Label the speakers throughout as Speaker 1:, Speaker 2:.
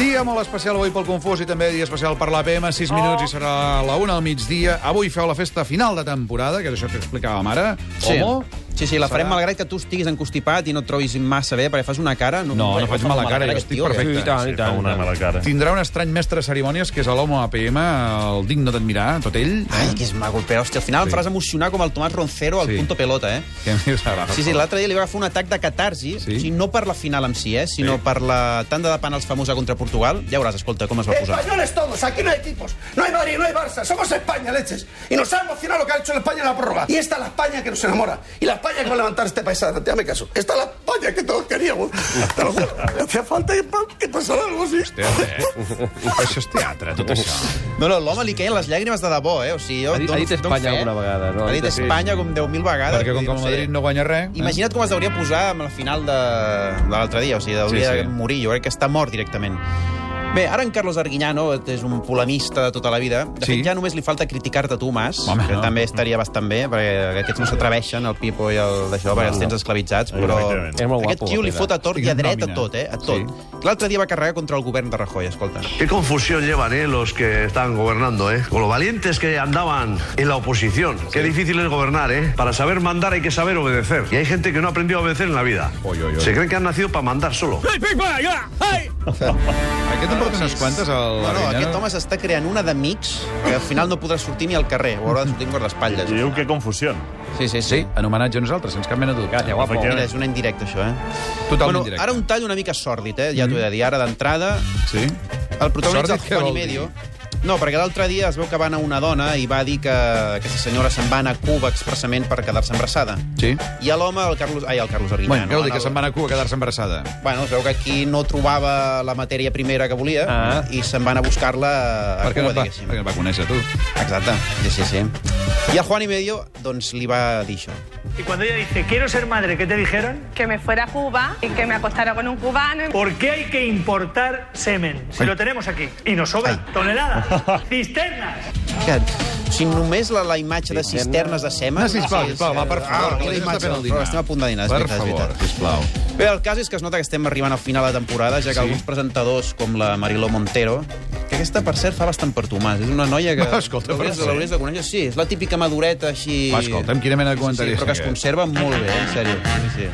Speaker 1: Dia molt especial avui pel Confús i també dia especial per l'APM. 6 minuts i serà la una al migdia. Avui feu la festa final de temporada, que és això que explicàvem ara.
Speaker 2: Sí.
Speaker 1: Homo.
Speaker 2: Sí, sí, la farem
Speaker 1: Serà-
Speaker 2: malgrat que tu estiguis encostipat i no et trobis massa bé, perquè fas una cara...
Speaker 1: No, no faig mala cara, jo
Speaker 2: aquest
Speaker 1: estic
Speaker 2: tio, eh?
Speaker 1: perfecte.
Speaker 3: Sí, i tant, Ah, i tant.
Speaker 4: Fa una mala cara.
Speaker 1: Tindrà un estrany mestre de cerimònies, que és l'Homo APM, el digne d'admirar, tot ell.
Speaker 2: Ai, que és maco, però hòstia, al final
Speaker 1: Sí.
Speaker 2: em faràs emocionar com el Tomàs Roncero al
Speaker 1: Sí.
Speaker 2: punto pelota, eh?
Speaker 1: Que a mi m'agrada.
Speaker 2: Sí, sí, l'altre dia li va agafar un atac de catarsi,
Speaker 1: Sí.
Speaker 2: sí. o sigui, no per la final en si, eh, sinó
Speaker 1: Sí.
Speaker 2: sí. per la tanda de penals famosa contra Portugal. Ja veuràs, escolta, com es va posar.
Speaker 5: Eh, Españoles todos, aquí no hay equipos. No hay Madrid, no hay Barça, somos España, leches. Y nos ha emocionado lo que ha hecho la España en la prórroga. Y esta es la España que nos enamora. Y la España que va a levantar este país adelante, hazme caso. Esta es la España que todos queríamos. Te lo juro. Hacía falta que, pa- que pasara algo así.
Speaker 1: Teatre, eh? això és teatre, tot això.
Speaker 2: No, no, l'home li caien les llàgrimes de debò, eh? O sigui, jo
Speaker 3: Ha dit-
Speaker 2: dono-
Speaker 3: ha dit
Speaker 2: dono
Speaker 3: Espanya
Speaker 2: fe.
Speaker 3: alguna vegada,
Speaker 2: doncs,
Speaker 3: no?
Speaker 2: eh?
Speaker 3: Doncs
Speaker 2: Ha dit
Speaker 3: Sí.
Speaker 2: Espanya com 10.000 vegades.
Speaker 1: Perquè com
Speaker 2: vull
Speaker 1: que
Speaker 2: dir,
Speaker 1: el
Speaker 2: sé.
Speaker 1: Madrid no guanya res... eh?
Speaker 2: Imagina't com es deuria posar amb la final de, de l'altre dia, o sigui, deuria
Speaker 1: Sí,
Speaker 2: sí,
Speaker 1: sí.
Speaker 2: sí. morir, jo crec que està mort directament. Bé, ara en Carlos Arguiñano és un polemista de tota la vida. De
Speaker 1: Sí.
Speaker 2: fet, ja només li falta criticar-te tu, Mas,
Speaker 1: Home,
Speaker 2: que
Speaker 1: no.
Speaker 2: també estaria bastant bé, perquè aquests no s'atreveixen, el Pipo i el d'això, perquè els tens esclavitzats, però
Speaker 4: Efectivament.
Speaker 3: És molt
Speaker 2: aquest
Speaker 3: guapo,
Speaker 2: tio li
Speaker 3: Pedro.
Speaker 2: fot a tort
Speaker 1: Estic
Speaker 2: i a
Speaker 1: en
Speaker 2: dret a
Speaker 1: nòmina.
Speaker 2: tot, eh? A tot.
Speaker 1: Sí.
Speaker 2: L'altre dia va carregar contra el govern de Rajoy, escolta.
Speaker 6: Qué confusión llevan eh, los que están gobernando, ¿eh? Con lo valientes que andaban en la oposición. Qué difícil es gobernar, ¿eh? Para saber mandar hay que saber obedecer. Y hay gente que no ha aprendido a obedecer en la vida.
Speaker 1: Oy, oy, oy.
Speaker 6: Se creen que han nacido para mandar solo.
Speaker 1: Aquest en porta unes quantes, el
Speaker 2: No, no,
Speaker 1: Arguiñano?
Speaker 2: aquest home s'està creant una d'amics que al final no podrà sortir ni al carrer, ho haurà de sortir amb guardaespatlles.
Speaker 4: Y digo, qué confusión.
Speaker 2: Sí, sí,
Speaker 1: Sí, en homenatge a nosaltres, sense cap mena de dubte.
Speaker 3: Gràcies, guapo.
Speaker 2: Mira,
Speaker 4: Efectivament.
Speaker 2: és una indirecta, això, eh?
Speaker 1: Totalment
Speaker 2: bueno,
Speaker 1: directe.
Speaker 2: ara un tall una mica sòrdid, eh? Ja t'ho he de dir. Ara, d'entrada,
Speaker 1: Sí?
Speaker 2: el protagonista
Speaker 1: Sòrdid,
Speaker 2: del
Speaker 1: què
Speaker 2: Juan
Speaker 1: vol
Speaker 2: i
Speaker 1: dir?
Speaker 2: Medio... No, perquè l'altre dia es veu que va anar una dona i va dir que aquesta senyora se'n va anar a Cuba expressament per quedar-se embarassada.
Speaker 1: Sí.
Speaker 2: I a l'home, el Carlos... Ai, el Carlos
Speaker 1: Bueno,
Speaker 2: Arguiñano.
Speaker 1: què vol dir,
Speaker 2: en
Speaker 1: que
Speaker 2: el-
Speaker 1: se'n va anar a Cuba a quedar-se embarassada?
Speaker 2: Bueno, es veu que aquí no trobava la matèria primera que volia
Speaker 3: Ah.
Speaker 2: i se'n va anar a buscar-la a
Speaker 1: Per què no
Speaker 2: Cuba,
Speaker 1: et va,
Speaker 2: diguéssim.
Speaker 1: perquè no et va conèixer, tu?
Speaker 2: Exacte, sí, sí, sí. I el Juan i Medio, doncs, li va dir això.
Speaker 7: Y cuando ella dice, quiero ser madre, ¿qué te dijeron?
Speaker 8: que me fuera a Cuba y que me acostara con un cubano.
Speaker 7: ¿Por qué hay que importar semen? Si
Speaker 1: Ay.
Speaker 7: lo tenemos aquí. Y nos sobra.
Speaker 2: Ay.
Speaker 7: Toneladas. Cisternas.
Speaker 2: Que, o sigui, només la, la imatge de cisternes de sema...
Speaker 1: No, Ah, sisplau, sisplau, va, per favor, que la
Speaker 2: Ah, la
Speaker 1: gent està
Speaker 2: imatge,
Speaker 1: fent el dinar.
Speaker 2: però estem a punt de dinar, és
Speaker 1: Per
Speaker 2: veritat, és
Speaker 1: favor,
Speaker 2: veritat.
Speaker 1: sisplau.
Speaker 2: Bé, el cas és que es nota que estem arribant al final de temporada, ja que
Speaker 1: Sí.
Speaker 2: sí. alguns presentadors, com la Mariló Montero, que aquesta, per cert, fa bastant per Tomàs. És una noia que...
Speaker 1: Va, escolta,
Speaker 2: l'hauries-
Speaker 1: però sí.
Speaker 2: l'hauries de conèixer. Sí, és la típica madureta així...
Speaker 1: Va, escolta'm, quina mena de comentari
Speaker 2: sí,
Speaker 1: és
Speaker 2: però que es
Speaker 1: aquest?
Speaker 2: conserva molt bé, eh, en sèrio. Sí, sí.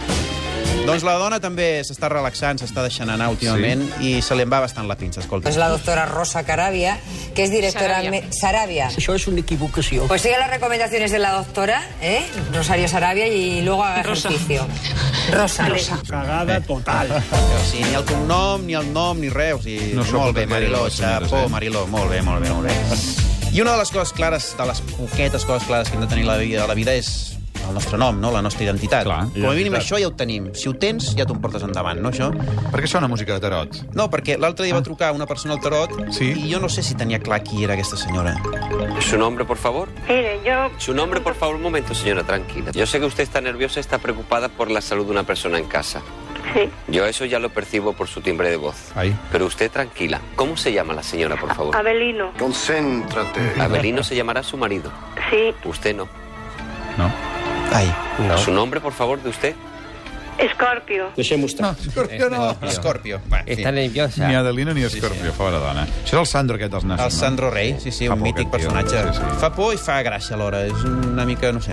Speaker 2: Doncs la dona també s'està relaxant, s'està deixant anar últimament sí. i se li en va bastant la pinça, escolta.
Speaker 9: Es la doctora Rosa Carabia, que es directora
Speaker 8: Sarabia.
Speaker 9: me- Sarabia.
Speaker 7: Eso es una equivocación.
Speaker 9: Pues sigue las recomendaciones de la doctora, ¿eh? Rosario Sarabia, y luego haga ejercicio. Rosa. Rosa.
Speaker 7: Cagada total.
Speaker 2: O sigui, ni el cognom, ni el nom, ni res. O sigui,
Speaker 1: No
Speaker 2: no
Speaker 1: són
Speaker 2: molt bé,
Speaker 1: portàtils,
Speaker 2: Mariló,
Speaker 1: les senyores,
Speaker 2: xapó,
Speaker 1: eh?
Speaker 2: Mariló, molt bé, molt bé, molt bé. I una de les coses clares, de les poquetes coses clares que hem de tenir a la vida, a la vida és el nostre nom, no? la nostra identitat.
Speaker 1: Clar.
Speaker 2: Com a mínim això ja ho tenim. Si ho tens, ja t'ho portes endavant, no, això?
Speaker 1: Per què sona música de tarot?
Speaker 2: No, perquè l'altre dia va trucar una persona al tarot
Speaker 1: Ah. Sí.
Speaker 2: i jo no sé si tenia clar qui era aquesta senyora.
Speaker 10: Su nombre, por favor.
Speaker 8: Mire, yo
Speaker 10: Su nombre, por favor, un momento, señora, tranquila. Yo sé que usted está nerviosa, está preocupada por la salud de una persona en casa.
Speaker 8: sí,
Speaker 10: Yo eso ya lo percibo por su timbre de voz.
Speaker 1: Ahí.
Speaker 10: Pero usted tranquila. ¿Cómo se llama la señora, por favor?
Speaker 8: Abelino,
Speaker 5: Concéntrate.
Speaker 10: Abelino se llamará su marido.
Speaker 8: sí,
Speaker 10: Usted no.
Speaker 1: No.
Speaker 2: Ai,
Speaker 10: Su nombre, por favor, de usted.
Speaker 8: Escorpio.
Speaker 1: No, Scorpio no.
Speaker 2: eh, Escorpio. Va, en fi.
Speaker 3: Està nerviosa.
Speaker 1: Ni Adelina ni Scorpio, fora dona. Això és el Sandro aquest dels
Speaker 2: eh, El
Speaker 1: nassos, no?
Speaker 2: Sandro Rey, sí, sí,
Speaker 1: Fa
Speaker 2: un
Speaker 1: por,
Speaker 2: mític
Speaker 1: aquest tio.
Speaker 2: personatge.
Speaker 1: Sí, sí.
Speaker 2: Fa por i fa gràcia alhora. És una mica, no sé,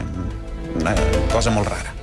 Speaker 2: una cosa molt rara.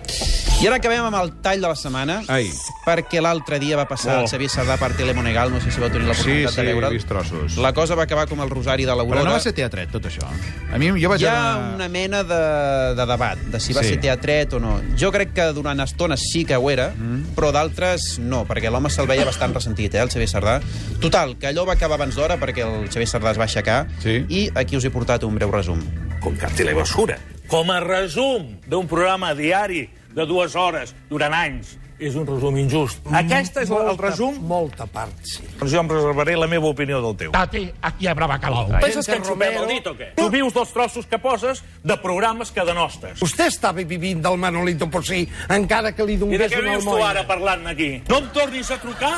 Speaker 2: I ara acabem amb el tall de la setmana,
Speaker 1: Ai.
Speaker 2: perquè l'altre dia va passar oh. el Xavier Sardà per Telemonegal, no sé si va tenir
Speaker 1: Sí,
Speaker 2: l'oportunitat
Speaker 1: sí,
Speaker 2: de
Speaker 1: he
Speaker 2: veure'l.
Speaker 1: vist trossos.
Speaker 2: La cosa va acabar com el Rosari de l'Aurora.
Speaker 1: Però no va ser teatret, tot això. A mi, jo vaig
Speaker 2: Hi ha
Speaker 1: anar...
Speaker 2: una mena de, de debat, de si va
Speaker 1: Sí.
Speaker 2: sí. ser teatret o no. Jo crec que durant estones sí que ho era, mm. però d'altres no, perquè l'home se'l veia bastant ressentit, eh, el Xavier Sardà. Total, que allò va acabar abans d'hora perquè el Xavier Sardà es va aixecar
Speaker 1: Sí.
Speaker 2: i aquí us he portat un breu resum.
Speaker 5: Con cartel y basura.
Speaker 3: Com a resum d'un programa diari de dues hores durant anys, és un resum injust. Aquest és el resum.
Speaker 5: Molta part, sí.
Speaker 3: Però jo em reservaré la meva opinió del teu.
Speaker 7: Tati, aquí habrá bacalao.
Speaker 3: Penses que ens xupem el dit o què? Tu vius dels trossos que poses de programes que denostes.
Speaker 5: Vostè estava vivint del Manolito por si, encara que li
Speaker 3: I de
Speaker 5: donés
Speaker 3: què
Speaker 5: una
Speaker 3: vius tu ara
Speaker 5: almoina.
Speaker 3: parlant aquí? No em tornis a trucar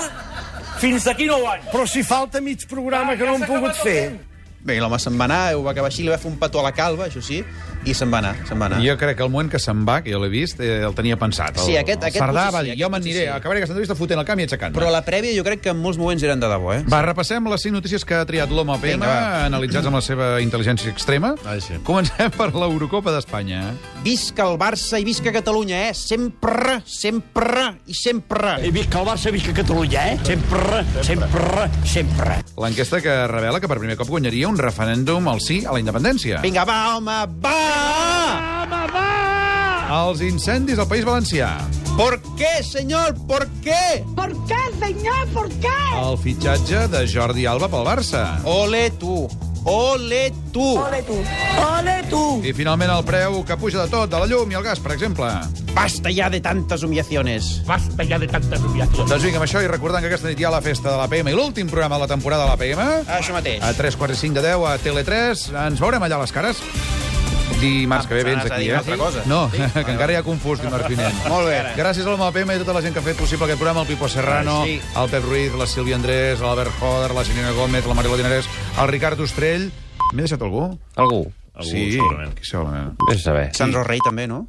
Speaker 3: fins d'aquí 9 anys.
Speaker 5: Però si falta mig programa que no hem pogut fer.
Speaker 2: Bé, l'home se'n va anar, ho va acabar així, li va fer un petó a la calva, això sí, i se'n va anar, se'n va anar.
Speaker 1: Jo crec que el moment que se'n va, que jo l'he vist, eh, el tenia pensat. El,
Speaker 2: Sí, aquest- aquest
Speaker 1: el Cerdà
Speaker 2: potser
Speaker 1: va
Speaker 2: sí,
Speaker 1: dir,
Speaker 2: aquest
Speaker 1: jo me'n
Speaker 2: potser
Speaker 1: aniré,
Speaker 2: sí.
Speaker 1: acabaré aquesta entrevista fotent el camp i aixecant.
Speaker 2: Però la prèvia jo crec que en molts moments eren de debò, eh?
Speaker 1: Va, repassem les 5 notícies que ha triat l'home PM,
Speaker 2: Vinga, va.
Speaker 1: analitzats amb la seva intel·ligència extrema.
Speaker 4: Ai, sí.
Speaker 1: Comencem per l'Eurocopa d'Espanya.
Speaker 2: Visca el Barça i visca Catalunya, eh? Sempre, sempre i sempre.
Speaker 7: He vist que el Barça, he vist que Catalunya, eh? Sempre, sempre, sempre.
Speaker 1: L'enquesta que revela que per primer cop guanyaria un referèndum al sí a la independència.
Speaker 2: Vinga, va, home, va!
Speaker 1: Els incendis al País Valencià.
Speaker 2: ¿Por qué, senyor? ¿Por qué?
Speaker 1: El fitxatge de Jordi Alba pel Barça.
Speaker 2: Ole tu, ole tu. Oh.
Speaker 1: I finalment el preu que puja de tot, de la llum i el gas, per exemple.
Speaker 2: Basta ya de tantes humillaciones.
Speaker 7: Basta ja de tanta rubiació.
Speaker 1: Doncs vinga, amb això i recordant que aquesta nit hi ha la festa de l'APM i l'últim programa de la temporada de l'APM.
Speaker 2: Això mateix.
Speaker 1: A 3, 4 i 5 de 10 a Tele3. Ens veurem allà a les cares. Dimarts que ve vens
Speaker 2: Anaves a
Speaker 1: aquí,
Speaker 2: dir
Speaker 1: eh?
Speaker 2: una altra cosa.
Speaker 1: No, que encara hi ha confús dimarts vinent.
Speaker 2: Molt bé.
Speaker 1: Gràcies al MAPM i tota la gent que ha fet possible aquest programa, el Pipo Serrano,
Speaker 2: Sí.
Speaker 1: el Pep Ruiz, la Sílvia Andrés, l'Albert Joder, la Xenina Gómez, la Mariola Dinerès, el Ricard Ostrell... M'he deixat algú?
Speaker 10: Algú.
Speaker 4: Algú,
Speaker 1: sí,
Speaker 4: segurament.
Speaker 1: Qui segurament.
Speaker 10: Vés a saber.
Speaker 2: Sandro Rey també, no?